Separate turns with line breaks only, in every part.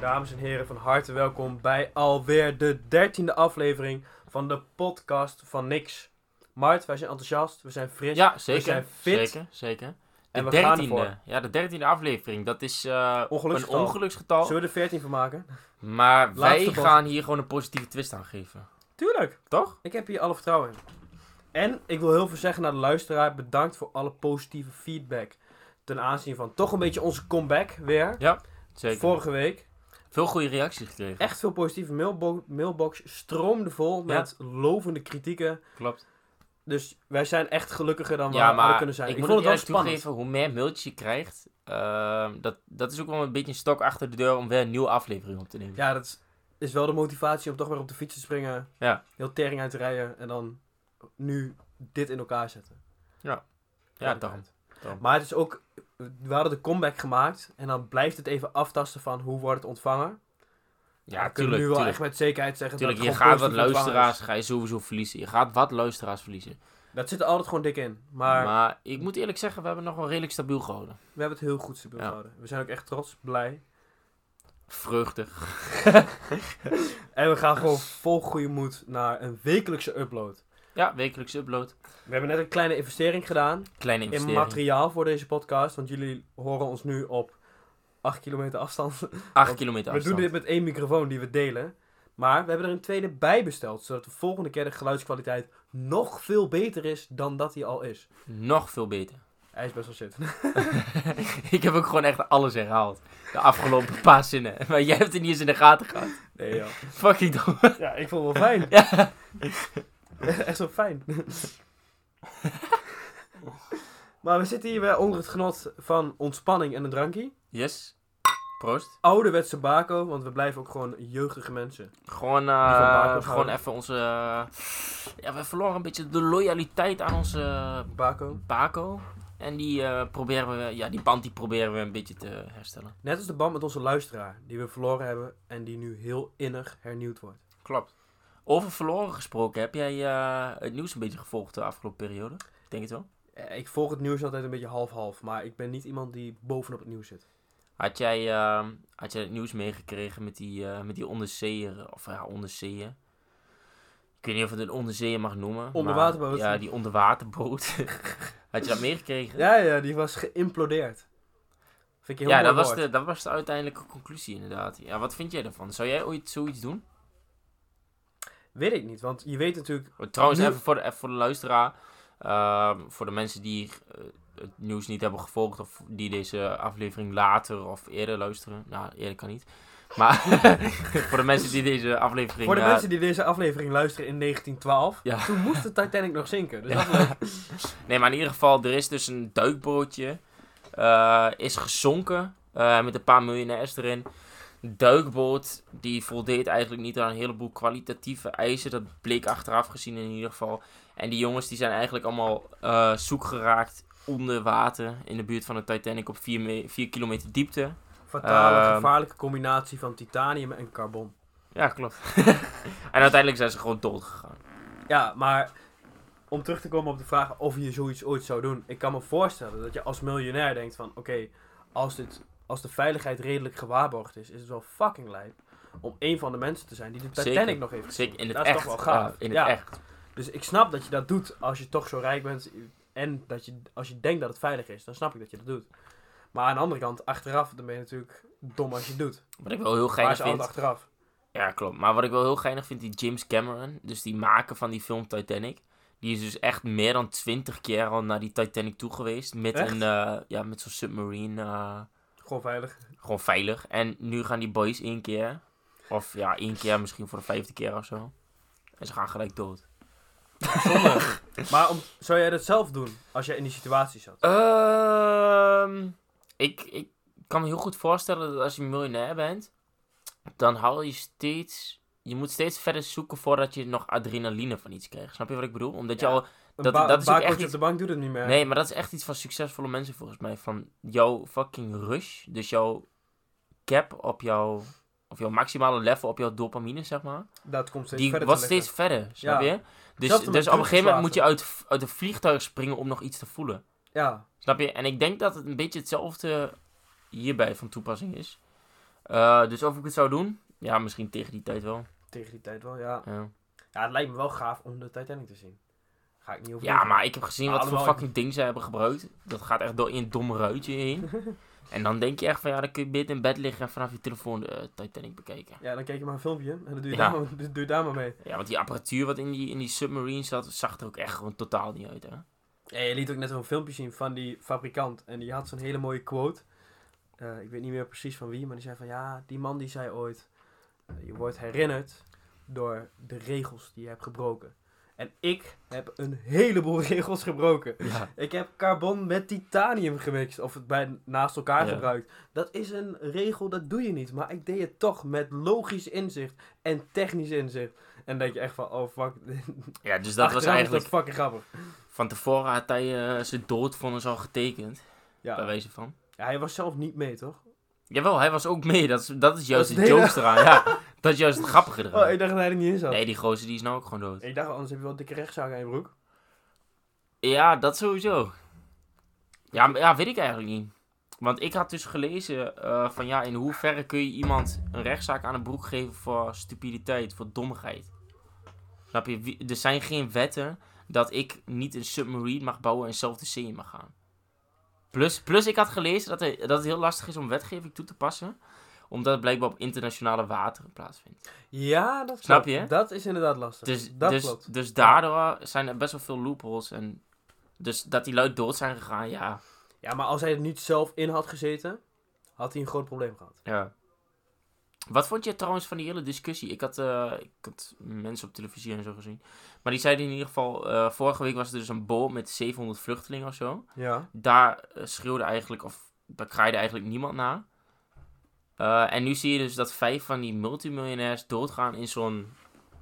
Dames en heren, van harte welkom bij alweer de dertiende aflevering van de podcast van Niks. Mart, wij zijn enthousiast, we zijn fris.
Ja, zeker.
zijn fit.
Zeker, zeker. De
En we gaan
dertiende.
ervoor.
ja, de dertiende aflevering. Dat is eh,
Ongeluksgetal.
een ongeluksgetal.
Zullen we er veertien van maken?
Maar wij
Laatste bal.
gaan hier gewoon een positieve twist aan geven.
Tuurlijk,
Toch?
ik heb hier alle vertrouwen in. En ik wil heel veel zeggen naar de luisteraar, bedankt voor alle positieve feedback. Ten aanzien van toch een beetje onze comeback weer.
Zeker.
Vorige week.
Veel goede reacties gekregen.
Echt veel positieve mailbo- mailbox stroomde vol
Ja.
met lovende kritieken.
Klopt.
Dus wij zijn echt gelukkiger dan we
Ja,
hadden
maar
kunnen zijn.
ik,
Ik,
moet
vond
het
het wel
juist
spannend.
toegeven, hoe meer mailtjes je krijgt, ehm, dat, dat is ook wel een beetje een stok achter de deur om weer een nieuwe aflevering op te nemen.
Ja, dat is, is wel de motivatie om toch weer op de fiets te springen.
Ja.
Heel tering uit te rijden en dan nu dit in elkaar zetten.
Ja, daarom. daarom.
Maar het is ook, we hadden de comeback gemaakt en dan blijft het even aftasten van hoe wordt het ontvangen.
Ja,
we kunnen
tuurlijk.
nu wel
tuurlijk.
echt met zekerheid zeggen
Tuurlijk,
dat
je
het
gaat
gewoon
wat
positief ontvangen
luisteraars ga je sowieso verliezen. Je gaat wat luisteraars verliezen.
is. Dat zit er altijd gewoon dik in. Maar
Maar, ik moet eerlijk zeggen, we hebben nog wel redelijk stabiel gehouden.
we hebben het heel goed stabiel
Ja.
gehouden. We zijn ook echt trots, blij.
Vreugdig.
En we gaan gewoon vol goede moed naar een wekelijkse upload.
Ja, wekelijks upload.
We hebben net een kleine investering gedaan.
Kleine
in
investering.
materiaal voor deze podcast. Want jullie horen ons nu op 8 kilometer afstand.
8 kilometer
We doen
afstand.
dit met één microfoon die we delen. Maar we hebben er een tweede bij besteld. Zodat de volgende keer de geluidskwaliteit nog veel beter is dan dat die al is.
Nog veel beter.
Hij is best wel shit.
ik heb ook gewoon echt alles herhaald. De afgelopen paar zinnen. Maar jij hebt het niet eens in de gaten gehad.
Nee joh.
Fucking dom.
Ja, ik vond het wel fijn.
Ja.
Echt zo fijn. maar we zitten hier weer onder het genot van ontspanning en een drankje.
Yes. Proost.
Ouderwetse bako, want we blijven ook gewoon jeugdige mensen.
Gewoon,
Die van
eh
Barcode
gewoon
houden.
even onze... eh, ja, we verloren een beetje de loyaliteit aan onze
Bako.
Baco. En die eh, proberen we... Ja, die band die proberen we een beetje te herstellen.
Net als de band met onze luisteraar, die we verloren hebben en die nu heel innig hernieuwd wordt.
Klopt. Over verloren gesproken, heb jij eh, het nieuws een beetje gevolgd de afgelopen periode? Ik denk het wel.
Eh, Ik volg het nieuws altijd een beetje half-half, maar ik ben niet iemand die bovenop het nieuws zit.
Had jij, ehm, had jij het nieuws meegekregen met die, eh, met die onderzeeër? Of ja, onderzeeër. Ik weet niet of het een onderzeeër mag noemen.
Onderwaterboot.
maar- Ja, die onderwaterboot. had je dat meegekregen?
Ja, ja, die was geïmplodeerd. Vind ik een heel
Ja,
mooi
dat, was
woord.
de, dat was de uiteindelijke conclusie inderdaad. Ja, wat vind jij daarvan? Zou jij ooit zoiets doen?
Weet ik niet, want je weet natuurlijk...
Oh, Trouwens,
Nu-
even, voor de, even voor de luisteraar. ehm, voor de mensen die eh, het nieuws niet hebben gevolgd of die deze aflevering later of eerder luisteren. Nou, eerder kan niet. Maar voor de mensen die deze aflevering...
Voor de
eh,
mensen die deze aflevering luisteren in 1912,
Ja.
toen moest de Titanic nog zinken. Dus
Ja.
dat is leuk.
Nee, maar in ieder geval, er is dus een duikbootje. eh, is gezonken eh, met een paar miljonairs erin. Een Duikboot die voldeed eigenlijk niet aan een heleboel kwalitatieve eisen. Dat bleek achteraf gezien in ieder geval. En die jongens die zijn eigenlijk allemaal eh, zoek geraakt onder water. In de buurt van de Titanic op 4 kilometer diepte.
Fatale,
Ehm.
gevaarlijke combinatie van titanium en carbon.
Ja, klopt. en uiteindelijk zijn ze gewoon dood gegaan.
Ja, maar om terug te komen op de vraag of je zoiets ooit zou doen. Ik kan me voorstellen dat je als miljonair denkt van... Oké, als, dit- als de veiligheid redelijk gewaarborgd is, is het wel fucking lijp. Om één van de mensen te zijn die de Titanic
Zeker.
nog heeft gezien.
Zeker in het
dat
echt.
is toch wel gaaf.
Ja, in het
Ja.
echt.
Dus ik snap dat je dat doet als je toch zo rijk bent. En dat je, als je denkt dat het veilig is, dan snap ik dat je dat doet. Maar aan de andere kant, achteraf, dan ben je natuurlijk dom als je het doet.
Wat ik wel heel
Maar
geinig
is altijd
vind.
achteraf.
Ja, klopt. Maar wat ik wel heel geinig vind, die James Cameron, dus die maker van die film Titanic, die is dus echt meer dan twintig keer al naar die Titanic toe geweest. Met,
Echt?
een, eh, ja, met zo'n submarine, eh,
Gewoon veilig.
gewoon veilig. En nu gaan die boys één keer, of ja, één keer misschien voor de vijfde keer of zo. En ze gaan gelijk dood.
Zonde. maar om, zou jij dat zelf doen als jij in die situatie zat?
Ehm, ik, ik kan me heel goed voorstellen dat als je miljonair bent, dan hou je steeds... Je moet steeds verder zoeken voordat je nog adrenaline van iets krijgt. Snap je wat ik bedoel? Omdat je
Ja.
al
Een
Dat-
ba-
dat is ook
baakcoach
echt
op
iets-
de bank doet het niet meer.
Nee, maar dat is echt iets van succesvolle mensen volgens mij. Van jouw fucking rush. Dus jouw cap op jouw... Of jouw maximale level op jouw dopamine, zeg maar.
Dat komt steeds
Die
verder
wordt
te
steeds
liggen.
verder, snap
Ja.
je? Dus,
Zelfs toen
dus
met
op een gegeven moment moet je
drugslaten.
uit, uit een vliegtuig springen om nog iets te voelen.
Ja,
Snap je? En ik denk dat het een beetje hetzelfde hierbij van toepassing is. Eh, dus of ik het zou doen? Ja, misschien tegen die tijd wel.
Tegen die tijd wel, ja.
Ja,
Ja, het lijkt me wel gaaf om de Titanic te zien. Ga ik niet over.
ja maar ik heb gezien wat voor
Allemaal-
fucking ding ze hebben gebruikt. Dat gaat echt door in een domme ruitje heen. En dan denk je echt van, ja, dan kun je beter in bed liggen en vanaf je telefoon de eh, Titanic bekijken.
Ja, dan kijk je maar een filmpje en dan doe je,
Ja.
daar, maar, doe je daar maar mee.
Ja, want die apparatuur wat in die, in die submarine zat, zag er ook echt gewoon totaal niet uit, hè.
Ja, je liet ook net zo'n filmpje zien van die fabrikant. En die had zo'n hele mooie quote. Eh, ik weet niet meer precies van wie, maar die zei van ja, die man die zei ooit: eh, Je wordt herinnerd door de regels die je hebt gebroken. En ik heb een heleboel regels gebroken.
Ja.
Ik heb carbon met titanium gemixt. Of het bij, naast elkaar
Ja.
gebruikt. Dat is een regel, dat doe je niet. Maar ik deed het toch met logisch inzicht en technisch inzicht. En dan denk je echt van, oh fuck.
ja, dus dat was eigenlijk...
Dat fucking grappig.
Van tevoren had hij eh, zijn doodvonnis al getekend, bij
Ja.
wijze van.
Ja, hij was zelf niet mee, toch?
Jawel, hij was ook mee. Dat is, dat is juist
Dat
de
is het
joke eraan, ja. Dat is juist het grappige eraan.
Oh, ik dacht dat hij er niet in zat.
Nee, die gozer die is nou ook gewoon dood.
Ik dacht, anders heb je wel dikke rechtszaak aan je broek.
Ja, dat sowieso. Ja, maar- ja, weet ik eigenlijk niet. Want ik had dus gelezen eh, van ja, in hoeverre kun je iemand een rechtszaak aan de broek geven voor stupiditeit, voor dommigheid. Snap je? Wie- Er zijn geen wetten dat ik niet een submarine mag bouwen en zelf de zee in mag gaan. Plus, plus ik had gelezen dat, er- dat het heel lastig is om wetgeving toe te passen, omdat het blijkbaar op internationale wateren plaatsvindt.
Ja, dat
Snap
klopt.
je?
Dat is inderdaad lastig.
Dus,
dat
dus,
klopt.
dus daardoor zijn er best wel veel loopholes. En dus dat die lui dood zijn gegaan, ja.
Ja, maar als hij er niet zelf in had gezeten, had hij een groot probleem gehad.
ja. Wat vond je trouwens van die hele discussie? Ik had, eh, ik had mensen op televisie en zo gezien. Maar die zeiden in ieder geval, eh, vorige week was er dus een boot met 700 vluchtelingen of zo.
Ja.
Daar eh, schreeuwde eigenlijk, of daar kraaide eigenlijk niemand naar. Eh, en nu zie je dus dat vijf van die multimiljonairs doodgaan in zo'n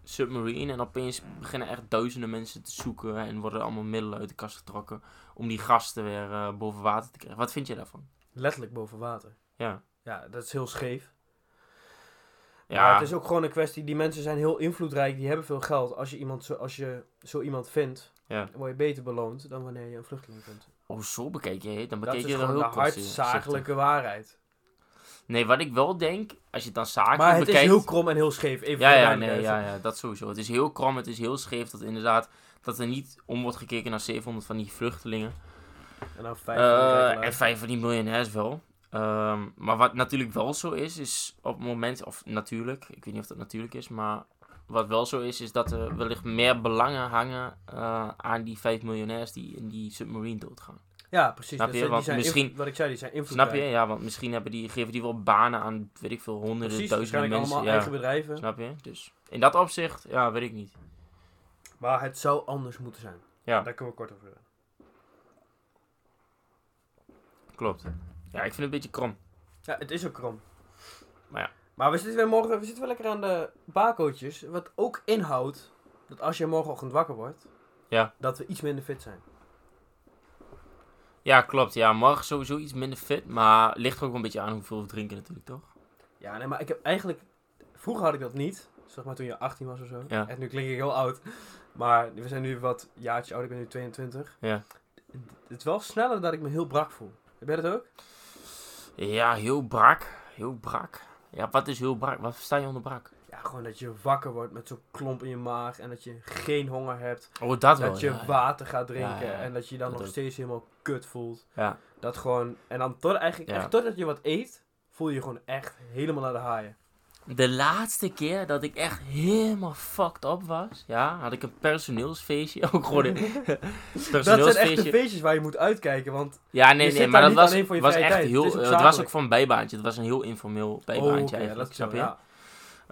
submarine. En opeens beginnen echt duizenden mensen te zoeken. En worden allemaal middelen uit de kast getrokken. Om die gasten weer eh, boven water te krijgen. Wat vind je daarvan?
Letterlijk boven water.
Ja.
Ja, dat is heel scheef. Ja. Maar
Ja,
het is ook gewoon een kwestie, die mensen zijn heel invloedrijk, die hebben veel geld. Als je, iemand zo, als je zo iemand vindt,
Ja.
dan word je beter beloond dan wanneer je een vluchteling vindt.
oh, zo bekijk je het.
Dat
Dan bekijk
is
je er
gewoon de
heel kortzichtig.
hardzakelijke waarheid.
Nee, wat ik wel denk, als je het dan
Maar
zakelijk
het
bekijkt...
is heel krom en heel scheef. Even
Ja,
voor de
ja, nee,
duidelijkheid.
ja, ja, dat sowieso. Het is heel krom, het is heel scheef dat inderdaad... dat er niet om wordt gekeken naar 700 van die vluchtelingen.
En dan vijf.
Eh,
van die
en vijf van die miljonairs wel. Ehm, maar wat natuurlijk wel zo is, is op het moment, of natuurlijk, ik weet niet of dat natuurlijk is, maar wat wel zo is, is dat er wellicht meer belangen hangen eh, aan die vijf miljonairs die in die submarine doodgaan.
Ja, precies.
Snap
Dat
je?
zijn- die
Want
zijn inv-
misschien-
Wat ik zei, die zijn invloedrijk.
Snap je? Ja, want misschien hebben die, geven die wel banen aan, weet ik veel, honderden,
Precies,
duizenden
waarschijnlijk
mensen.
allemaal
Ja,
eigen bedrijven.
snap je? Dus in dat opzicht, ja, weet ik niet.
Maar het zou anders moeten zijn.
Ja.
Daar kunnen we kort over hebben.
Klopt. Ja, ik vind het een beetje krom.
Ja, het is ook krom.
Maar ja.
Maar we zitten weer morgen, we zitten wel lekker aan de bakootjes. Wat ook inhoudt dat als je morgenochtend wakker wordt,
Ja.
dat we iets minder fit zijn.
Ja, klopt. Ja, morgen sowieso iets minder fit, maar ligt er ook wel een beetje aan hoeveel we drinken natuurlijk, toch?
Ja, nee, maar ik heb eigenlijk... Vroeger had ik dat niet. Zeg maar toen je 18 was of zo.
Ja.
En nu klink ik heel oud. Maar we zijn nu wat jaartjes ouder. Ik ben nu 22.
Ja.
Het is wel sneller dat ik me heel brak voel. Heb jij dat ook?
Ja, heel brak. Heel brak. Ja, wat is heel brak? Wat sta je onder brak?
Ja, gewoon dat je wakker wordt met zo'n klomp in je maag en dat je geen honger hebt.
Oh, dat wel.
dat je
ja,
water gaat drinken
Ja, ja, ja.
en dat je dan
Dat
nog
ook.
steeds helemaal kut voelt.
Ja.
Dat gewoon, en dan tot eigenlijk,
Ja.
echt totdat je wat eet, voel je je gewoon echt helemaal naar de haaien.
De laatste keer dat ik echt helemaal fucked up was, ja, had ik een personeelsfeestje. Ook gewoon een
Dat zijn echt de
personeelsfeestje.
feestjes waar je moet uitkijken, want
Ja,
Je
nee,
zit
nee,
daar
maar dat
niet
was,
alleen voor je
was
vrije
echt
tijd.
heel.
Het is ook
eh, Het was
zakelijk.
ook voor een bijbaantje. Het was een heel informeel bijbaantje
Oh, oké,
eigenlijk.
dat is
snap
chill,
je?
ja.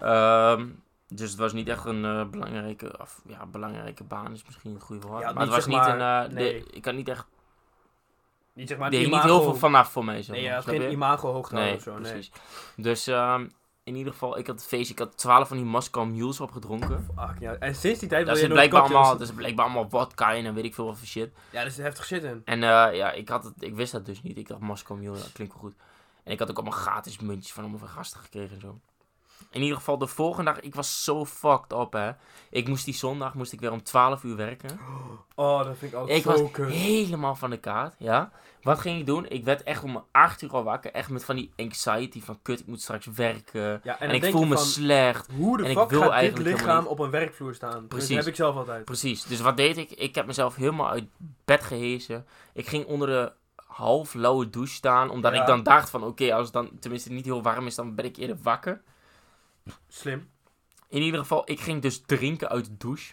Ehm, dus het was niet echt een eh, belangrijke, of, ja, belangrijke baan is misschien een goede woord.
Ja,
maar het
niet
was
zeg
niet een.
maar-
eh,
nee.
de, ik had niet echt.
Niet zeg maar
deed
het
niet
imago-
heel veel vanaf voor mij. Zeg
Nee,
maar,
ja, het
snap
geen
je?
imago hoog te houden
Nee,
of zo, nee.
precies. Dus ehm, in ieder geval, ik had het feestje. Ik had 12 van die Moscow Mules opgedronken.
Fuck, ja. En sinds die tijd wil
Daar
je
zit
nog
blijkbaar
cocktails.
allemaal, daar zit blijkbaar allemaal vodka in en weet ik veel wat voor shit.
Ja, daar zit heftig shit in.
En eh, ja, ik, had het, ik wist dat dus niet. Ik dacht Moscow Mule, dat klinkt wel goed. En ik had ook allemaal gratis muntjes van allemaal van gasten gekregen en zo. In ieder geval de volgende dag, ik was zo fucked up, hè. Ik moest die zondag, moest ik weer om 12 uur werken.
Oh, dat vind ik altijd
ik
zo
was
kut.
helemaal van de kaart, ja. Wat ging ik doen? Ik werd echt om 8 uur al wakker. Echt met van die anxiety van, kut, ik moet straks werken.
Ja, en,
en
dan
ik
denk
voel
je
me
van,
slecht.
Hoe de
en ik
fuck
wil
gaat dit
eigenlijk helemaal
lichaam
niet.
op een werkvloer staan?
Precies.
Dat heb ik zelf altijd.
Precies. Dus wat deed ik? Ik heb mezelf helemaal uit bed gehezen. Ik ging onder de half lauwe douche staan. Omdat
Ja.
ik dan dacht van, oké, als het dan tenminste niet heel warm is, dan ben ik eerder wakker.
Slim.
In ieder geval, ik ging dus drinken uit de douche.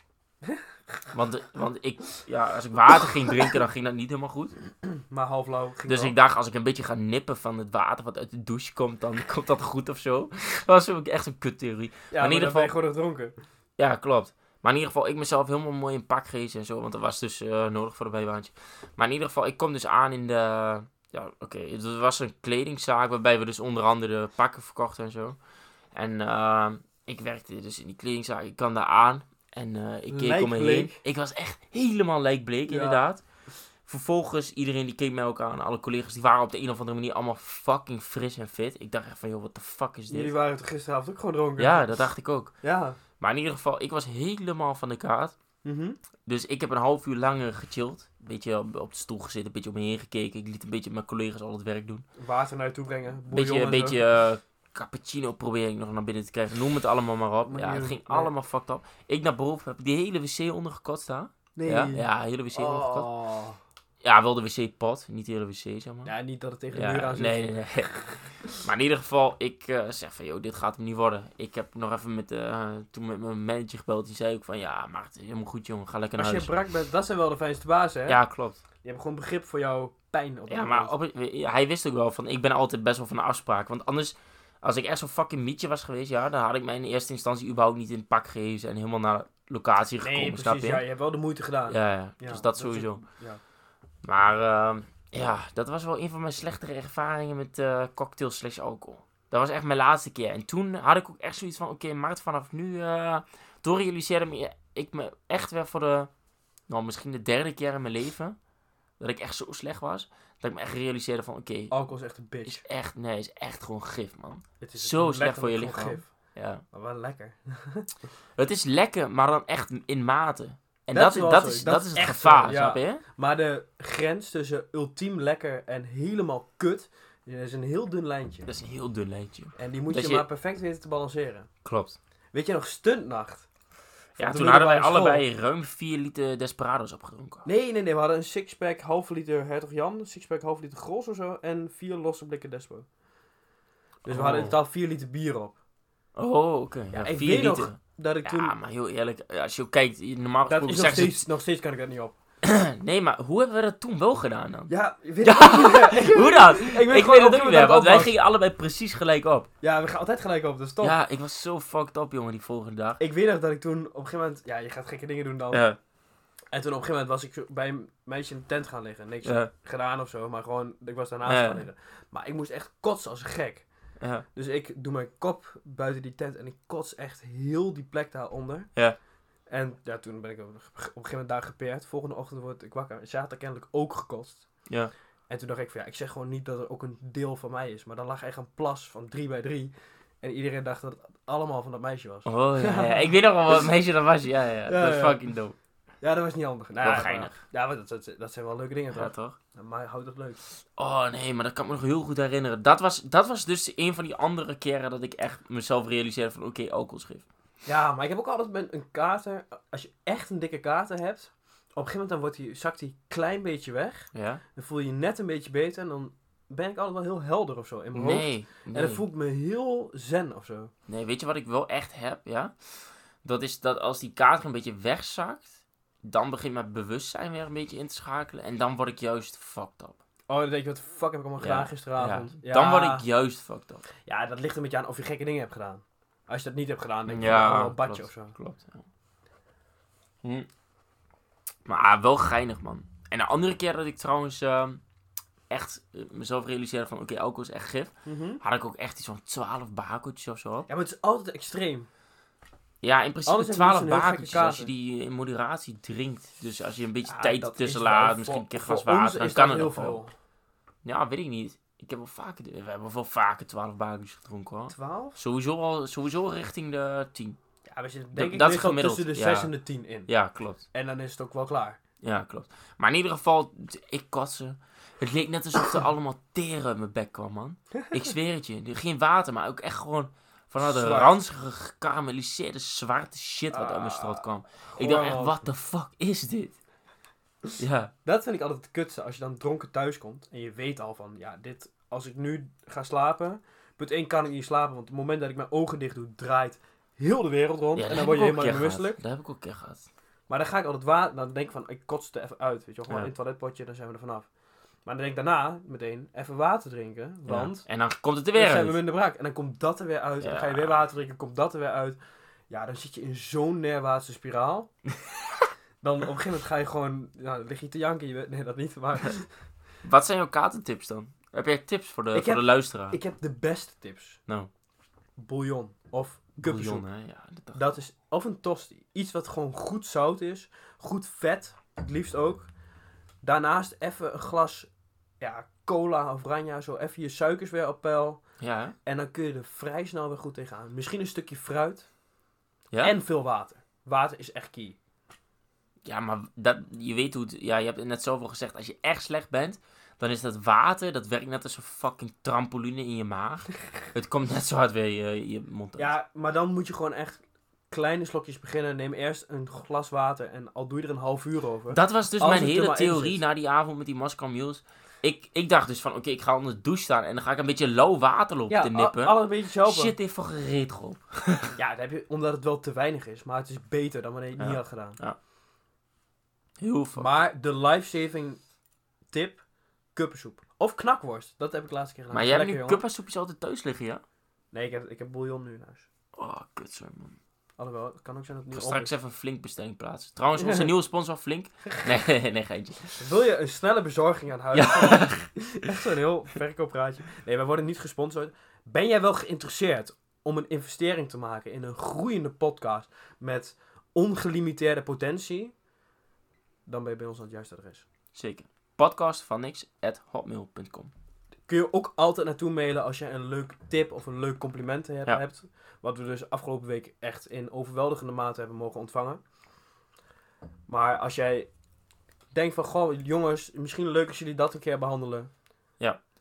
Want, de- want ik, ja, als ik water ging drinken, dan ging dat niet helemaal goed.
Maar half lauw ging
Dus
wel.
ik dacht, als ik een beetje ga nippen van het water wat uit de douche komt, dan komt dat goed of zo. Dat was ook echt een kuttheorie.
Ja, maar in ieder
ieder
geval... ben je gewoon gedronken.
Ja, klopt. Maar in ieder geval, ik mezelf helemaal mooi in pak gegeven en zo. Want dat was dus eh, nodig voor de bijbaantje. Maar in ieder geval, ik kom dus aan in de... Ja, oké. Het was een kledingzaak waarbij we dus onder andere pakken verkochten en zo. En eh, ik werkte dus in die kledingzaak. Ik kwam daar aan en eh, ik keek om me heen.
Lijkbleek.
Ik was echt helemaal lijkbleek,
Ja.
inderdaad. Vervolgens, iedereen die keek mij ook aan. Alle collega's, die waren op de een of andere manier allemaal fucking fris en fit. Ik dacht echt van, joh, wat de fuck is
Jullie
dit?
waren toch gisteravond ook gewoon dronken?
Ja, dat dacht ik ook.
Ja.
Maar in ieder geval, ik was helemaal van de kaart.
Mhm.
Dus ik heb een half uur langer gechilled. Een beetje op, op de stoel gezeten, een beetje om me heen gekeken. Ik liet een beetje mijn collega's al het werk doen.
Water naar je toe brengen.
Een
bouillon
beetje,
en zo.
beetje eh, cappuccino probeer ik nog naar binnen te krijgen. Noem het allemaal maar op.
Maar
Ja,
niet
het
doen.
ging
Nee.
allemaal fucked up. Ik naar boven heb die hele wc ondergekotst daar.
Nee.
Ja, ja, hele wc ondergekotst.
Oh.
Ja, wel de wc-pot, niet de hele wc, zeg maar.
Ja, niet dat het tegen de
Ja,
muur aan zit.
nee, nee, nee. maar in ieder geval, ik eh, zeg van, joh, dit gaat hem niet worden. Ik heb nog even met, eh, toen met mijn manager gebeld. Die zei ook van, ja, maar het is helemaal goed, jongen. Ga lekker naar
Als je
huis.
brak bent, dat zijn wel de fijnste bazen, hè?
nou dus- Ja, klopt.
Die hebben gewoon begrip voor jouw pijn. Op
Ja,
dat
maar
moment.
op, hij wist ook wel van, ik ben altijd best wel van de afspraak. Want anders, als ik echt zo'n fucking mietje was geweest, ja, dan had ik mij in eerste instantie überhaupt niet in het pak gegeven en helemaal naar locatie gekomen,
Nee,
snap
precies.
je?
Ja, je hebt wel de moeite gedaan.
Ja, ja,
Ja,
dus dat
dat
sowieso.
is- ja.
Maar ehm, ja, dat was wel een van mijn slechtere ervaringen met eh cocktails slash alcohol. Dat was echt mijn laatste keer. En toen had ik ook echt zoiets van, oké, Mart, vanaf nu, eh door realiseerde me- ik me echt weer voor de, nou, misschien de derde keer in mijn leven, dat ik echt zo slecht was, dat ik me echt realiseerde van, oké,
Alcohol is echt een bitch.
is echt, nee, is echt gewoon gif, man.
Het is
zo
een
slecht voor je
letterlijk gewoon gif.
Ja.
Maar wel lekker.
Het is lekker, maar dan echt in mate. En
Dat
dat,
is
is,
wel
dat,
zo.
is,
Dat
dat,
is
is het
echt
gevaar,
zo, ja.
snap je?
Maar de grens tussen ultiem lekker en helemaal kut, dat is een heel dun lijntje.
Dat is een heel dun lijntje.
En die moet
Dus Dat
je,
je-
maar perfect weten te balanceren.
Klopt.
Weet je nog, stuntnacht? Van
Ja,
de
toen hadden wij
middelbare school.
allebei ruim 4 liter Desperados opgedronken.
Nee, nee, nee. We hadden een sixpack, halve liter Hertog Jan, sixpack, halve liter Gros of zo en vier losse blikken Despo. Dus we
Oh.
hadden in totaal vier liter bier op.
Oh, oké. Ja,
ik
4
weet
liter.
nog Dat ik toen...
Ja, maar heel eerlijk, als je ook kijkt, normaal
dat
gesproken
is nog
zeggen ze...
steeds, nog steeds kan ik dat niet op.
Nee, maar hoe hebben we dat toen wel gedaan dan?
Ja, ik weet
Ja.
het ook niet meer.
Hoe dan?
Ik
Ik
weet
weet
gewoon
het
niet
ook
hoe
niet
dat
meer, want wij
opbouwt.
gingen allebei precies gelijk op.
Ja, we gaan altijd gelijk op, dus top.
Ja, ik was zo fucked up, jongen, die volgende dag.
Ik weet nog dat ik toen op een gegeven moment... Ja, je gaat gekke dingen doen dan.
Ja,
En toen op een gegeven moment was ik zo- bij een meisje in de tent gaan liggen. Niks
ja,
gedaan of zo, maar gewoon... Ik was daarnaast
Ja.
gaan liggen. Maar ik moest echt kotsen als een gek.
ja.
Dus ik doe mijn kop buiten die tent en ik kots echt heel die plek daaronder.
Ja.
En ja, toen ben ik op op een gegeven moment daar gepeerd. Volgende ochtend word ik wakker. Ze had er kennelijk ook gekotst.
ja.
En toen dacht ik van ja, ik zeg gewoon niet dat er ook een deel van mij is. Maar dan lag echt een plas van 3 bij 3. En iedereen dacht dat het allemaal van dat meisje was.
Oh ja, ja. ik weet nog wel wat meisje dat was. Ja, ja,
Ja,
dat is
ja.
fucking dope.
Ja, dat was niet handig. Nou,
Wel
ja, maar-
geinig.
Ja, maar dat, dat, dat zijn wel leuke dingen
Ja,
toch?
toch?
Maar houdt het leuk.
Oh nee, maar dat kan ik me nog heel goed herinneren. Dat was, dat was dus een van die andere keren dat ik echt mezelf realiseerde van oké, alcohol is gif.
Ja, maar ik heb ook altijd met een kater. Als je echt een dikke kater hebt. Op een gegeven moment dan wordt die, zakt die klein beetje weg.
Ja?
Dan voel je je net een beetje beter en dan ben ik altijd wel heel helder of zo in mijn
Nee,
hoofd.
nee.
En dan voel ik me heel zen of zo.
Nee, weet je wat ik wel echt heb, ja? Dat is dat als die kater een beetje wegzakt, dan begint mijn bewustzijn weer een beetje in te schakelen. En dan word ik juist fucked up.
Oh, dan denk je, wat de fuck heb ik allemaal
Ja,
gedaan gisteravond? Ja.
Dan word ik juist fucked up.
Ja, dat ligt een beetje aan of je gekke dingen hebt gedaan. Als je dat niet hebt gedaan, denk je,
Ja,
ja, een badje
klopt.
of zo.
Klopt. ja. Hm. Maar ah, wel geinig, man. En de andere keer dat ik trouwens ehm, echt eh, mezelf realiseerde van... Oké, alcohol is echt gif. Had ik ook echt iets van 12 bakeltjes of zo.
Ja, maar het is altijd extreem.
Ja, in principe
Anders heb je
12
niet zo'n heel gekke
bakeltjes als je
kater.
die in moderatie drinkt. Dus als je een beetje
Ja,
tijd
dat is
tussen
wel
laat,
voor-
misschien een keer
voor
glas
ons
water, dan
is
kan
dat
het nog
heel
wel. Ja, weet ik niet. Ik heb wel vaker, we hebben wel vaker 12 barbies gedronken hoor.
12?
Sowieso, al, sowieso richting de 10.
Ja, we zitten denk ik
dat is
meestal
gemiddeld,
tussen de
ja.
6 en de 10 in.
Ja, klopt.
En dan is het ook wel klaar.
Ja, klopt. Maar in ieder geval, t- ik katsen. Het leek net alsof er allemaal teren in mijn bek kwam, man. Ik zweer het je. Er- Geen water, maar ook echt gewoon vanuit de
Zwart.
ranzige, gekarameliseerde, zwarte shit wat uit mijn strot kwam. Ik dacht echt,
Goh.
what the fuck is dit? Ja,
Dat vind ik altijd het kutste. Als je dan dronken thuis komt en je weet al van, ja, dit, als ik nu ga slapen, punt 1 kan ik niet slapen, want op het moment dat ik mijn ogen dicht doe, draait heel de wereld rond
ja
en dan
dat heb
word
ik
je
ook
helemaal
een keer gehad.
bewustelijk.
Dat heb ik ook een keer gehad.
Maar dan ga ik altijd water, dan denk ik van, ik kots er even uit, weet je wel, gewoon
Ja.
in het toiletpotje, dan zijn we er vanaf. Maar dan denk ik daarna meteen even water drinken,
Ja.
want
En dan komt het er
dan
weer
zijn we
uit.
minder brak. En dan komt dat er weer uit, en dan ga je
Ja.
weer water drinken, komt dat er weer uit. Ja, dan zit je in zo'n neerwaartse spiraal. dan op een gegeven moment ga je gewoon, nou, dan lig je te janken, je weet- nee dat niet, maar...
Wat zijn jouw katertips dan? Heb jij tips voor de,
Ik
voor
heb-
de luisteraar?
Ik heb de beste tips.
Ah. Nou.
Bouillon of
Bouillon,
kuppensoep.
hè? Ja, dat dacht ik.
Dat is, of een tosti. Iets wat gewoon goed zout is. Goed vet. Het liefst ook. Daarnaast even een glas ja, cola of ranja. Zo even je suikers weer op peil.
Ja, hè?
En dan kun je er vrij snel weer goed tegenaan. Misschien een stukje fruit.
ja?
En veel water. Water is echt key.
Ja, maar dat, je weet hoe het... Ja, je hebt het net zoveel gezegd. Als je echt slecht bent, dan is dat water... Dat werkt net als een fucking trampoline in je maag. het komt net zo hard weer je, je mond uit.
Ja, maar dan moet je gewoon echt kleine slokjes beginnen. Neem eerst een glas water. En al doe je er een half uur over.
Dat was dus
Als
mijn
het er
hele
maar in
theorie
zit.
na die avond met die Moscow Mules. Ik, ik dacht dus van, oké, ik ga onder de douche staan... en dan ga ik een beetje low water lopen
ja,
te
al-
nippen.
alle beetjes helpen.
Shit, dit voor gereed op.
Ja, dat heb je, omdat het wel te weinig is. Maar het is beter dan wanneer je het
Ja.
niet had gedaan.
Heel veel.
Maar de life-saving tip, kuppensoep. Of knakworst. Dat heb ik de laatste keer gedaan.
Maar jij hebt
Lekker,
nu
jongen.
kuppensoepjes altijd thuis liggen, ja?
Nee, ik heb, ik heb bouillon nu in huis.
Oh, kut zo, man.
Alhoewel, het kan ook zijn dat
Ik
het
ga
nu op
straks even een Flink bestelling plaatsen. Trouwens, onze nieuwe sponsor Flink. Nee, nee, geintje.
is. Wil je een snelle bezorging aan huis? Echt zo'n heel verkoopraadje. Nee, wij worden niet gesponsord. Ben jij wel geïnteresseerd om een investering te maken in een groeiende podcast met ongelimiteerde potentie? Dan ben je bij ons aan het juiste adres.
Zeker. Podcast van niks at hotmail.com.
kun je ook altijd naartoe mailen als je een leuk tip of een leuk compliment he-
Ja.
hebt. Wat we dus afgelopen week echt in overweldigende mate hebben mogen ontvangen. Maar als jij denkt van, goh jongens, misschien leuk als jullie dat een keer behandelen.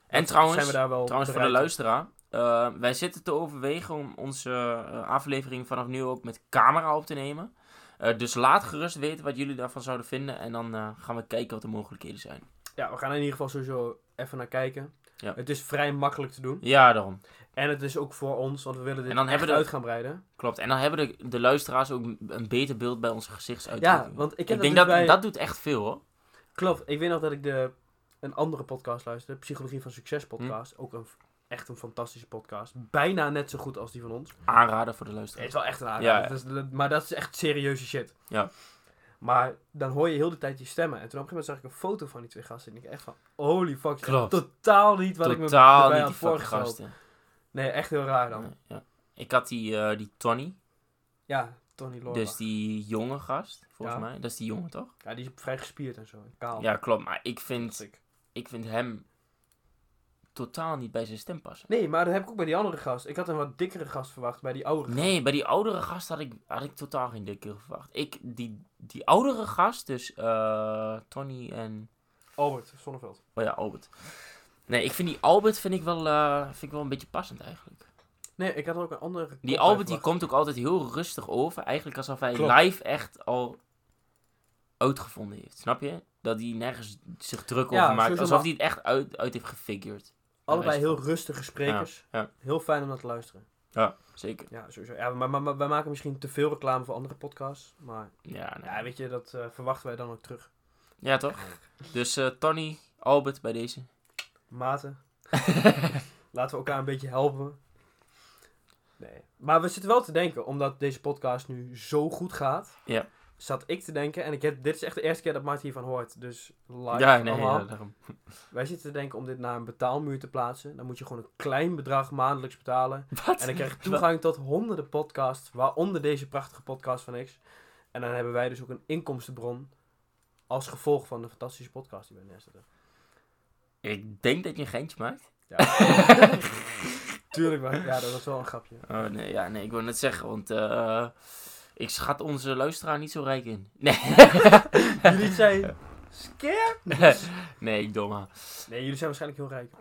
En
zijn we
trouwens,
daar wel
trouwens voor de
bereid
luisteraar. eh, wij zitten te overwegen om onze eh, aflevering vanaf nu ook met camera op te nemen. Eh, dus laat gerust weten wat jullie daarvan zouden vinden. En dan eh, gaan we kijken wat de mogelijkheden zijn.
toe? Ja, we gaan er in ieder geval sowieso even naar kijken.
Ja.
Het is vrij makkelijk te doen.
Ja, daarom.
En het is ook voor ons, want we willen dit
En dan
echt
hebben we-
uit gaan breiden.
Klopt. En dan hebben de, de luisteraars ook een beter beeld bij onze gezichtsuitdrukking.
Ja, want ik,
ik,
heb
denk
dus
dat
bij-
dat doet echt veel hoor.
Klopt, ik weet nog dat ik de, een andere podcast luisterde, Psychologie van
Hm.
Succes podcast. Ook een, f- echt een fantastische podcast. Bijna net zo goed als die van ons.
Aanraden voor de
Het
luisteraars.
is wel echt een aardig.
Ja, ja.
Dat is- dat- maar dat is echt serieuze shit.
Ja.
Maar dan hoor je heel de tijd die stemmen. En toen op een gegeven moment zag ik een foto van die twee gasten. En ik echt van, holy fuck.
Klopt.
Totaal niet wat ik me
Totaal
erbij
niet
had
die fucking
voorgesteld.
gasten.
Nee, echt heel raar dan.
Nee, ja. Ik had die, eh, die Tony,
Ja, Tony Lorber.
dus die jonge gast, volgens
Ja. Oh.
mij. Dat is die jongen toch?
Ja, die is vrij gespierd en zo. en Kaal.
Ja, klopt. Maar ik vind,
Sick.
ik vind hem totaal niet bij zijn stem passen.
Nee, maar dat heb ik ook bij die andere gast. Ik had een wat dikkere gast verwacht bij die oudere gast.
Nee, bij die oudere gast had ik, had ik totaal geen dikke verwacht. Ik, die, die oudere gast, dus eh, Tony en...
Albert Zonneveld.
Oh ja, Albert. Nee, ik vind die Albert vind ik wel, eh, vind ik wel een beetje passend eigenlijk.
Nee, ik had ook een andere kop bij
Die Albert die
verwacht.
komt ook altijd heel rustig over. Eigenlijk alsof hij
Klopt.
live echt al uitgevonden heeft. Snap je? Dat hij nergens zich druk
Ja,
over maakt.
sowieso,
Alsof
maar-
hij het echt uit, uit heeft gefigured.
Allebei heel rustige sprekers.
Ja, ja.
Heel fijn om naar te luisteren.
Ja, zeker.
Ja, sowieso. Ja, maar, maar, maar wij maken misschien te veel reclame voor andere podcasts. Maar
Ja, nee.
Ja, weet je, dat eh, verwachten wij dan ook terug.
ja toch? Dus eh, Tony, Albert bij deze.
Maten. Laten we elkaar een beetje helpen. Nee. Maar we zitten wel te denken, omdat deze podcast nu zo goed gaat.
Ja.
Zat ik te denken, en ik heb, dit is echt de eerste keer dat Mart hiervan hoort. Dus live
ja, nee,
allemaal.
ja, daarom.
Wij zitten te denken om dit naar een betaalmuur te plaatsen. Dan moet je gewoon een klein bedrag maandelijks betalen.
Wat?
En dan krijg je toegang tot honderden podcasts, waaronder deze prachtige podcast van X. En dan hebben wij dus ook een inkomstenbron als gevolg van de fantastische podcast die wij neerzetten.
Ik denk dat je een geintje maakt.
Ja. Tuurlijk, maar ja, dat was wel een grapje.
Oh, nee, ja, nee, ik wil net zeggen, want eh, ik schat onze luisteraar niet zo rijk in. Nee.
Jullie zijn scared?
nee, domme.
Nee, jullie zijn waarschijnlijk heel rijk.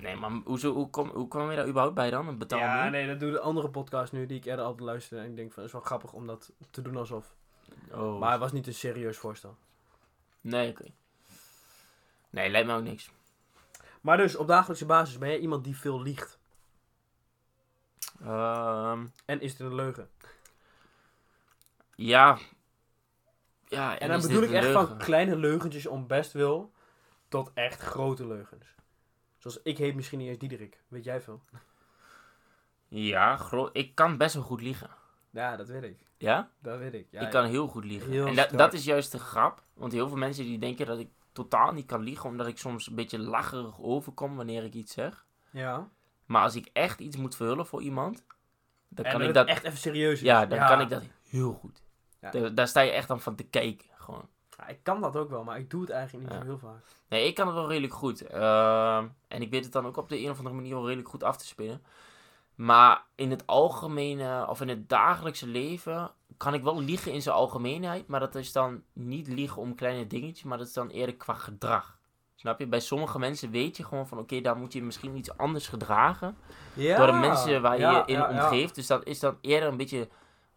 Nee, maar hoezo, hoe, kom, hoe kwam je daar überhaupt bij dan? Een betaalmuur?
ja, nee, dat doet een andere podcast nu die ik eerder altijd luisterde. En ik denk van, het is wel grappig om dat te doen alsof.
Oh.
Maar het was niet een serieus voorstel.
Nee, oké. Nee, lijkt me ook niks.
Maar dus, op dagelijkse basis ben jij iemand die veel liegt.
Ehm,
En is het een leugen?
ja. Ja,
En, dan
is
bedoel
dit
ik echt
leugen?
van kleine leugentjes om best wil tot echt grote leugens. Zoals ik heet misschien niet eens Diederik. Weet jij veel?
Ja, gro- ik kan best wel goed liegen.
Ja, dat weet ik.
Ja?
Dat weet ik. Ja,
ik kan heel goed liegen.
Heel
en dat,
sterk.
dat is juist de grap. Want heel veel mensen die denken dat ik totaal niet kan liegen, omdat ik soms een beetje lacherig overkom wanneer ik iets zeg.
Ja.
Maar als ik echt iets moet verhullen voor iemand, dan
En
kan
dat
ik
het
dat
echt even serieus is.
Ja, dan kan ik dat heel goed.
Ja.
Daar, daar sta je echt aan van te kijken. Gewoon.
Ja, ik kan dat ook wel, maar ik doe het eigenlijk niet
Ja.
zo heel vaak.
Nee, ik kan het wel redelijk goed. Ehm, en ik weet het dan ook op de een of andere manier wel redelijk goed af te spinnen. Maar in het algemene, of in het dagelijkse leven, kan ik wel liegen in zijn algemeenheid. Maar dat is dan niet liegen om kleine dingetjes, maar dat is dan eerder qua gedrag. Snap je? Bij sommige mensen weet je gewoon van, oké, daar moet je misschien iets anders gedragen.
Ja.
door de mensen waar je
Ja,
je in
ja, ja.
omgeeft. Dus dat is dan eerder een beetje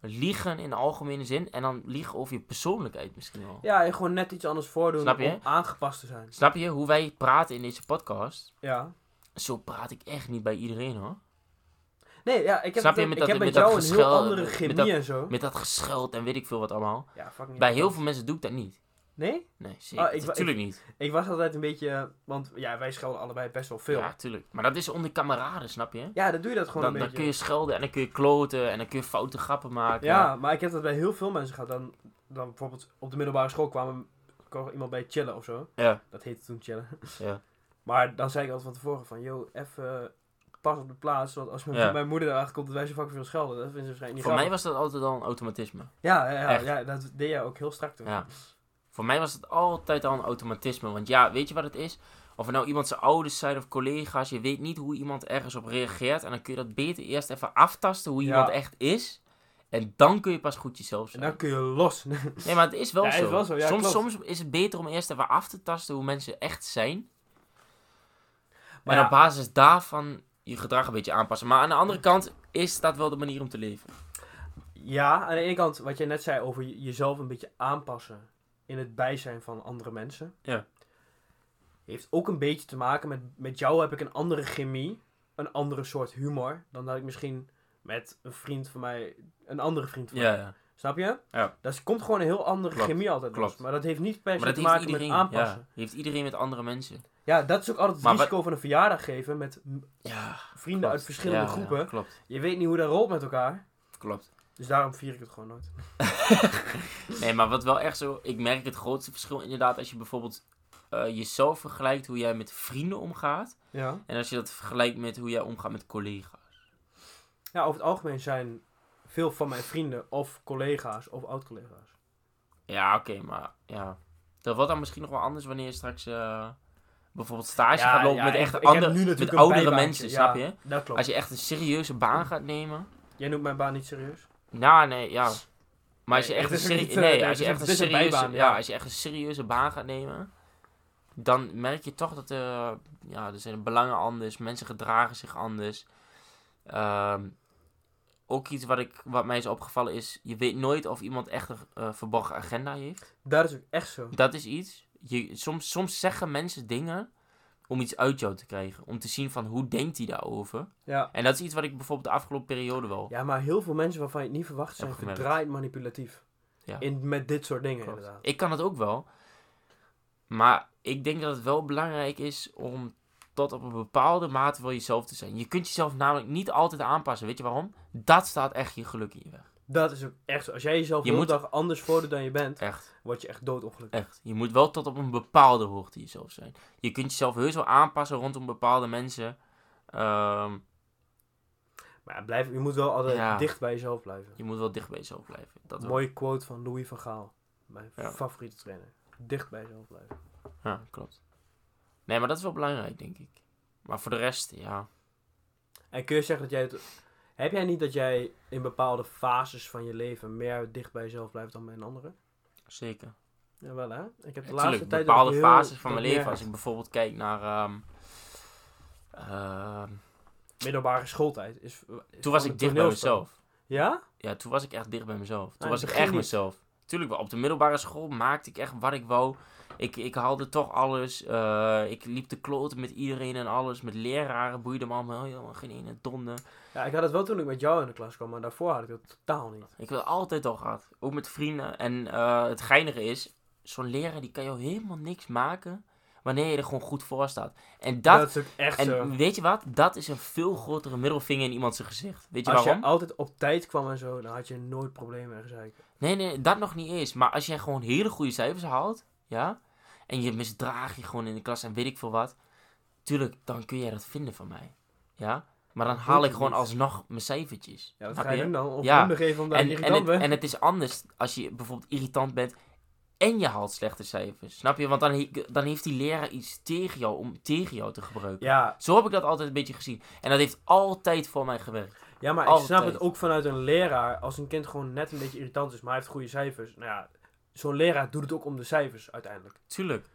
liegen in de algemene zin. En dan liegen over je persoonlijkheid misschien wel.
Ja, en gewoon net iets anders voordoen
Snap je?
om aangepast te zijn.
Snap je hoe wij praten in deze podcast?
Ja.
Zo praat ik echt niet bij iedereen hoor.
Nee, ja, ik heb,
Snap je,
het-
met
ik
dat-
heb met
met dat
jou een heel
geschel-
andere
met
chemie
dat-
en zo.
Met dat gescheld en weet ik veel wat allemaal.
Ja, fucking
Bij heel veel mensen doe ik dat niet.
Nee?
Nee, zeker.
Ah, ik wa-
natuurlijk niet.
Ik was altijd een beetje... eh, Want ja, wij schelden allebei best wel veel.
Ja,
Ja,
tuurlijk. Maar dat is onder kameraden, snap je?
dan doe je dat gewoon
Dan,
een
dan
beetje.
kun je schelden en dan kun je kloten en dan kun je foute grappen maken.
Ja, maar ik heb dat bij heel veel mensen gehad. Dan, dan bijvoorbeeld op de middelbare school kwam, kwam iemand bij chillen of zo.
Ja.
Dat heette toen chillen.
Ja.
Maar dan zei ik altijd van tevoren van, yo, even eh, pas op de plaats. Want als mijn,
Ja.
mijn moeder erachter komt dat wij zo fucking veel schelden, dat vinden ze waarschijnlijk niet
Voor mij
grappig.
was dat altijd al een automatisme.
Ja, ja, ja,
Echt.
ja, dat deed jij ook heel strak toen.
Ja. Voor mij was het altijd al een automatisme. Want ja, weet je wat het is? Of het nou iemand zijn ouders zijn of collega's, je weet niet hoe iemand ergens op reageert. En dan kun je dat beter eerst even aftasten hoe
Ja.
iemand echt is. En dan kun je pas goed jezelf
En
zijn.
dan kun je los.
Nee, maar het is wel
Ja, het
zo.
is wel zo, ja,
soms,
klopt.
soms is het beter om eerst even af te tasten hoe mensen echt zijn.
Maar
en
ja.
op basis daarvan je gedrag een beetje aanpassen. Maar aan de andere kant is dat wel de manier om te leven.
Ja, aan de ene kant wat jij net zei over je- jezelf een beetje aanpassen in het bijzijn van andere mensen.
Ja.
Heeft ook een beetje te maken met, met jou heb ik een andere chemie, een andere soort humor dan dat ik misschien met een vriend van mij, een andere vriend van mij.
ja.
Snap je?
Ja.
Dat komt gewoon een heel andere
Klopt,
chemie altijd los.
klopt.
Maar dat heeft niet per se
Maar dat
te
heeft
maken
iedereen.
met aanpassen.
Ja, heeft iedereen met andere mensen.
Ja. dat is ook altijd het
Maar wat-
risico van een verjaardag geven met m-
Ja,
vrienden uit verschillende
Ja, ja,
groepen.
klopt,
Je weet niet hoe dat rolt met elkaar.
klopt.
Dus daarom vier ik het gewoon nooit.
Nee, maar wat wel echt zo... Ik merk het grootste verschil inderdaad als je bijvoorbeeld eh, jezelf vergelijkt hoe jij met vrienden omgaat.
Ja.
En als je dat vergelijkt met hoe jij omgaat met collega's.
Ja, Nou, over het algemeen zijn veel van mijn vrienden of collega's of oud-collega's.
Ja, oké, maar ja. Dat wordt dan misschien nog wel anders wanneer je straks eh, bijvoorbeeld stage gaat lopen met echt andere, met oudere mensen, snap je?
Dat klopt.
Als je echt een serieuze baan gaat nemen.
Jij noemt mijn baan niet serieus.
Nou, nee, ja. Maar als je
Nee,
echt een
het is ook
serie-
niet, eh,
nee,
nee,
als je
het is een-
echt een
het is een
serieuze,
bijbaan, ja.
ja, als je echt een serieuze baan gaat nemen, dan merk je toch dat eh ja, er zijn de belangen anders, mensen gedragen zich anders. Ehm, ook iets wat, ik, wat mij is opgevallen is, je weet nooit of iemand echt een eh, verborgen agenda heeft.
Dat is ook echt zo.
Dat is iets. Je, soms, soms zeggen mensen dingen om iets uit jou te krijgen. Om te zien van hoe denkt hij daarover.
Ja.
En dat is iets wat ik bijvoorbeeld de afgelopen periode wel.
ja, maar heel veel mensen waarvan je het niet verwacht
Heb
zijn
gemerkt.
verdraaid manipulatief.
Ja.
In, met dit soort dingen
Klopt.
inderdaad.
Ik kan het ook wel. Maar ik denk dat het wel belangrijk is om tot op een bepaalde mate wel jezelf te zijn. Je kunt jezelf namelijk niet altijd aanpassen. Weet je waarom? Dat staat echt je geluk in je weg.
Dat is ook echt zo. Als jij jezelf
Je
de hele
moet-
dag anders voordoet dan je bent,
Echt,
word je echt doodongelukkig.
echt. Je moet wel tot op een bepaalde hoogte jezelf zijn. Je kunt jezelf heus wel aanpassen rondom bepaalde mensen. Ehm,
Maar ja, blijf, je moet wel altijd
Ja.
dicht bij jezelf blijven.
je moet wel dicht bij jezelf blijven. Dat wel.
Mooie quote van Louis van Gaal. Mijn
Ja.
favoriete trainer. Dicht bij jezelf blijven.
Ja, klopt. Nee, maar dat is wel belangrijk, denk ik. Maar voor de rest, ja.
En kun je zeggen dat jij het... Heb jij niet dat jij in bepaalde fases van je leven meer dicht bij jezelf blijft dan bij een andere?
Zeker.
Jawel hè? Ik heb de laatste
Natuurlijk,
tijd...
bepaalde
ook heel-
fases van
dat
mijn leven.
meer-
Als ik bijvoorbeeld kijk naar... ehm, ehm,
Middelbare schooltijd is... is
toen
gewoon
was
een
ik dicht bij
toneelspel.
mezelf.
Ja?
Ja, toen was ik echt dicht bij mezelf. Toen
in
was
het
ik
begin
echt
niet.
mezelf. Tuurlijk, wel, op de middelbare school maakte ik echt wat ik wou. Ik, ik haalde toch alles. Eh, ik liep de kloten met iedereen en alles. Met leraren boeide me allemaal helemaal geen ene donder.
Ja, ik had het wel toen ik met jou in de klas kwam, maar daarvoor had ik dat totaal niet.
Ik heb het altijd al gehad. Ook met vrienden. En eh, het geinige is, zo'n leraar die kan jou helemaal niks maken wanneer je er gewoon goed voor staat. En dat,
is ook echt zo.
en weet je wat? Dat is een veel grotere middelvinger in iemands gezicht. Weet je
Als
waarom?
je altijd op tijd kwam en zo, dan had je nooit problemen en gezeik.
Nee, nee, dat nog niet eens. Maar als jij gewoon hele goede cijfers haalt, ja, en je misdraagt je gewoon in de klas en weet ik veel wat, tuurlijk, dan kun jij dat vinden van mij. Ja? Maar dan haal
Moet
ik
je
gewoon
niet.
alsnog mijn cijfertjes.
Ja, wat
Snap
ga je
je?
doen dan? Of
Ja.
ja. geven omdat je
En, en,
Nou, irritant
het,
bent?
en het is anders als je bijvoorbeeld irritant bent en je haalt slechte cijfers. Snap je? Want dan, he- dan heeft die leraar iets tegen jou om tegen jou te gebruiken.
Ja,
Zo heb ik dat altijd een beetje gezien. En dat heeft altijd voor mij gewerkt.
ja, maar ik snap
Altijd.
het ook vanuit een leraar. Als een kind gewoon net een beetje irritant is, maar hij heeft goede cijfers. Nou ja, zo'n leraar doet het ook om de cijfers uiteindelijk.
Tuurlijk.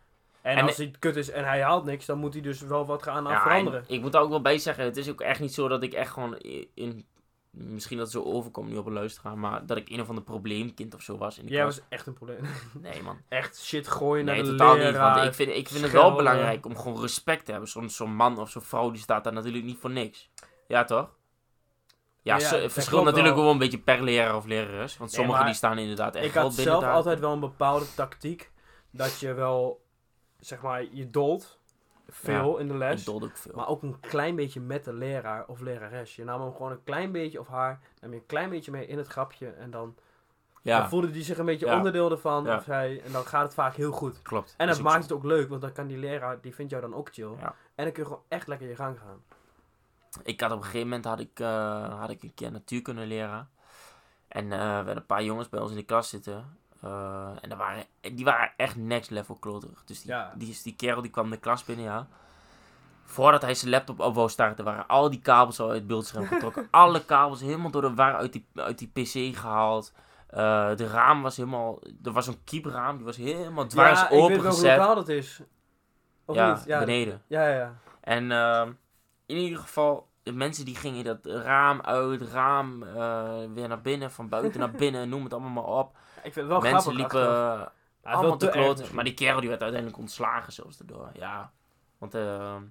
En,
En-
als hij kut is en hij haalt niks, dan moet hij dus wel wat gaan aan
Ja,
veranderen.
en Ik moet daar ook wel bij zeggen, het is ook echt niet zo dat ik echt gewoon i- in... Misschien dat het zo overkomt nu op een luisteraar, maar dat ik een of ander probleemkind of zo was in de
Jij
klas.
was echt een probleem.
Nee man,
Echt shit gooien
nee
naar de
totaal niet.
leraar.
Want ik vind, ik vind het wel
schelden.
belangrijk om gewoon respect te hebben. Zo'n zo'n man of zo'n vrouw die staat daar natuurlijk niet voor niks. Ja toch? Ja,
Ja,
ze-
dat
het verschilt
klopt
natuurlijk
wel.
wel een beetje per leraar of lerares. Want
Nee,
sommigen
maar
die staan inderdaad echt
ik
wel
had
binnen
zelf
daar.
altijd wel een bepaalde tactiek. Dat je wel, zeg maar, je dolt veel in de
Ik
les.
dold ook veel.
Maar ook een klein beetje met de leraar of lerares. Je nam hem gewoon een klein beetje of haar. Nam je een klein beetje mee in het grapje. En dan, dan
ja,
voelde die zich een beetje
Ja.
onderdeel ervan.
Ja.
Of zij, en dan gaat het vaak heel goed.
klopt.
En
Is
dat
ook zo.
maakt het ook leuk. Want dan kan die leraar, die vindt jou dan ook chill.
Ja.
En dan kun je gewoon echt lekker je gang gaan.
ik had op een gegeven moment had ik, eh, had ik een keer natuurkunde leraar. En eh, we hadden een paar jongens bij ons in de klas zitten. Eh, en dat waren, die waren echt next level kloterig. Dus die,
Ja.
die, die kerel die kwam de klas binnen, ja. Voordat hij zijn laptop op wou starten, waren al die kabels al uit het beeldscherm getrokken. Alle kabels helemaal door de war uit die, uit die pc gehaald. Eh, de raam was helemaal... Er was een kiepraam, die was helemaal dwars
ja, ik weet welk
opengezet.
lokaal dat is. Of
Ja,
niet? Ja,
beneden.
ja, ja, ja.
En ehm, in ieder geval, de mensen die gingen dat raam uit, raam eh, weer naar binnen, van buiten naar binnen, noem het allemaal maar op.
Ik vind het wel
mensen
grappig.
liepen
achteraf. Ja,
eh,
het is wel
allemaal te
erg
kloten.
misschien.
Maar die kerel die werd uiteindelijk ontslagen zelfs daardoor. Ja, want ehm,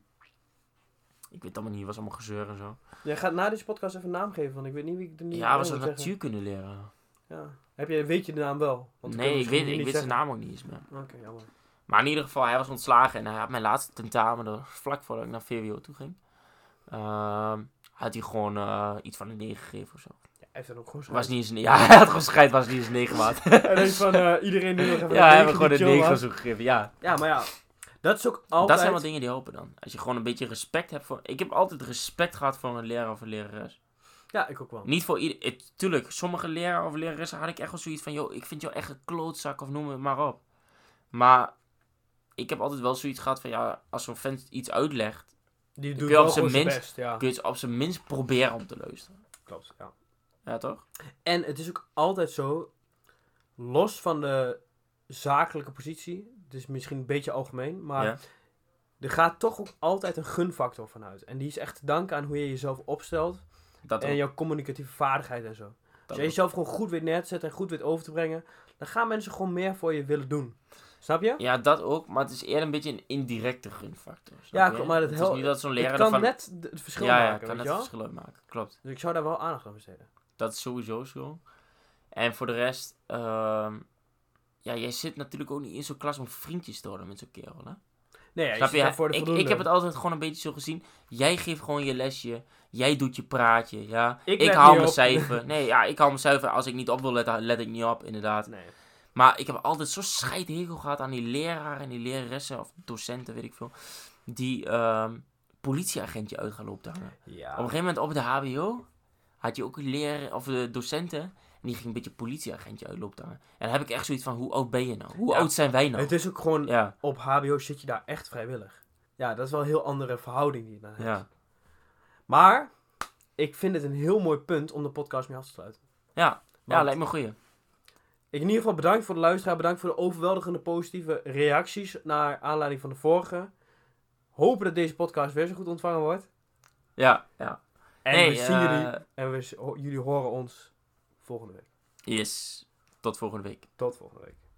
ik weet allemaal niet, was allemaal gezeur en zo.
Jij gaat na deze podcast even een naam geven, want ik weet niet wie ik de
Ja, was
dat
dat natuurkunde leren?
Ja. Heb je, weet je de naam wel? Want dan kunnen we
Nee, ik
misschien
weet,
nu
ik
niet
weet zijn
zeggen.
naam ook niet eens meer.
Oké, jammer.
Maar in ieder geval, hij was ontslagen en hij had mijn laatste tentamen, dat was vlak voordat ik naar VWO toe ging. Ehm, had hij gewoon eh, iets van een 9 gegeven of zo.
Ja, hij heeft dan ook gewoon zo.
Was niet eens een, ja, hij had gewoon scheid, was niet eens een 9 maat.
En dan is van eh, iedereen die nog even
ja, hij
een
heeft gewoon
beetje
een
chill
9
was.
zo gegeven, ja.
Ja, maar ja. Dat is ook altijd...
Dat zijn wel dingen die helpen dan. Als je gewoon een beetje respect hebt voor... Ik heb altijd respect gehad voor een leraar of een lerares.
Ja, ik ook wel.
Niet voor ieder... het- Tuurlijk, sommige leraar of leraressen had ik echt wel zoiets van... Yo, ik vind jou echt een klootzak of noem het maar op. Maar ik heb altijd wel zoiets gehad van... Ja, als zo'n vent iets uitlegt...
Die
kun
doet
je
wel
op zijn
gewoon zijn
minst-
best, ja.
Kun je het op zijn minst proberen om te luisteren.
Klopt, ja.
Ja, toch?
En het is ook altijd zo, los van de zakelijke positie, het is misschien een beetje algemeen, maar
Ja.
er gaat toch ook altijd een gunfactor vanuit. En die is echt te danken aan hoe je jezelf opstelt
Dat
en
ook,
jouw communicatieve vaardigheid en zo.
dat
Als jij
ook.
jezelf gewoon goed weet neer te zetten en goed weet over te brengen, dan gaan mensen gewoon meer voor je willen doen. Snap je?
Ja, dat ook, maar het is eerder een beetje een indirecte gunfactor. snap
Ja,
je?
klopt, maar dat
het is
hel-
niet dat zo'n leraar
Het kan
ervan-
net d- het verschil
ja, ja,
maken,
kan
weet
net
je
het
wel?
verschil uitmaken, klopt.
Dus ik zou daar wel aandacht aan besteden.
Dat is sowieso zo. En voor de rest, ehm, ja, jij zit natuurlijk ook niet in zo'n klas om vriendjes te worden met zo'n kerel, hè?
Nee, ja, je
Snap
zit daar voor de
ik,
voldoende.
ik heb het altijd gewoon een beetje zo gezien. Jij geeft gewoon je lesje. Jij doet je praatje, ja.
Ik
Ik,
let
haal
niet
mijn
op.
cijfer. Nee, ja, ik haal mijn cijfer. Als ik niet op wil letten, let ik niet op, inderdaad.
Nee.
Maar ik heb altijd zo'n scheidhekel gehad aan die leraren en die leraressen, of docenten, weet ik veel, die ehm, politieagentje uit gaan lopen te hangen.
Ja.
Op een gegeven moment op de HBO had je ook leren of de docenten. En die ging een beetje politieagentje uitlopen daar. En dan heb ik echt zoiets van, hoe oud ben je nou? Hoe
Ja.
oud zijn wij nou?
Het is ook gewoon,
Ja,
op HBO zit je daar echt vrijwillig. Ja, dat is wel een heel andere verhouding die je dan hebt.
Ja.
Maar ik vind het een heel mooi punt om de podcast mee af te sluiten.
Ja, ja
Want
lijkt me een goeie.
ik in ieder geval bedankt voor de luisteraar. Bedankt voor de overweldigende positieve reacties naar aanleiding van de vorige. Hopen dat deze podcast weer zo goed ontvangen wordt.
Ja, ja.
En
Nee,
we zien
eh,
jullie en we, z- ho- jullie horen ons volgende week.
Yes. Tot volgende week.
Tot volgende week.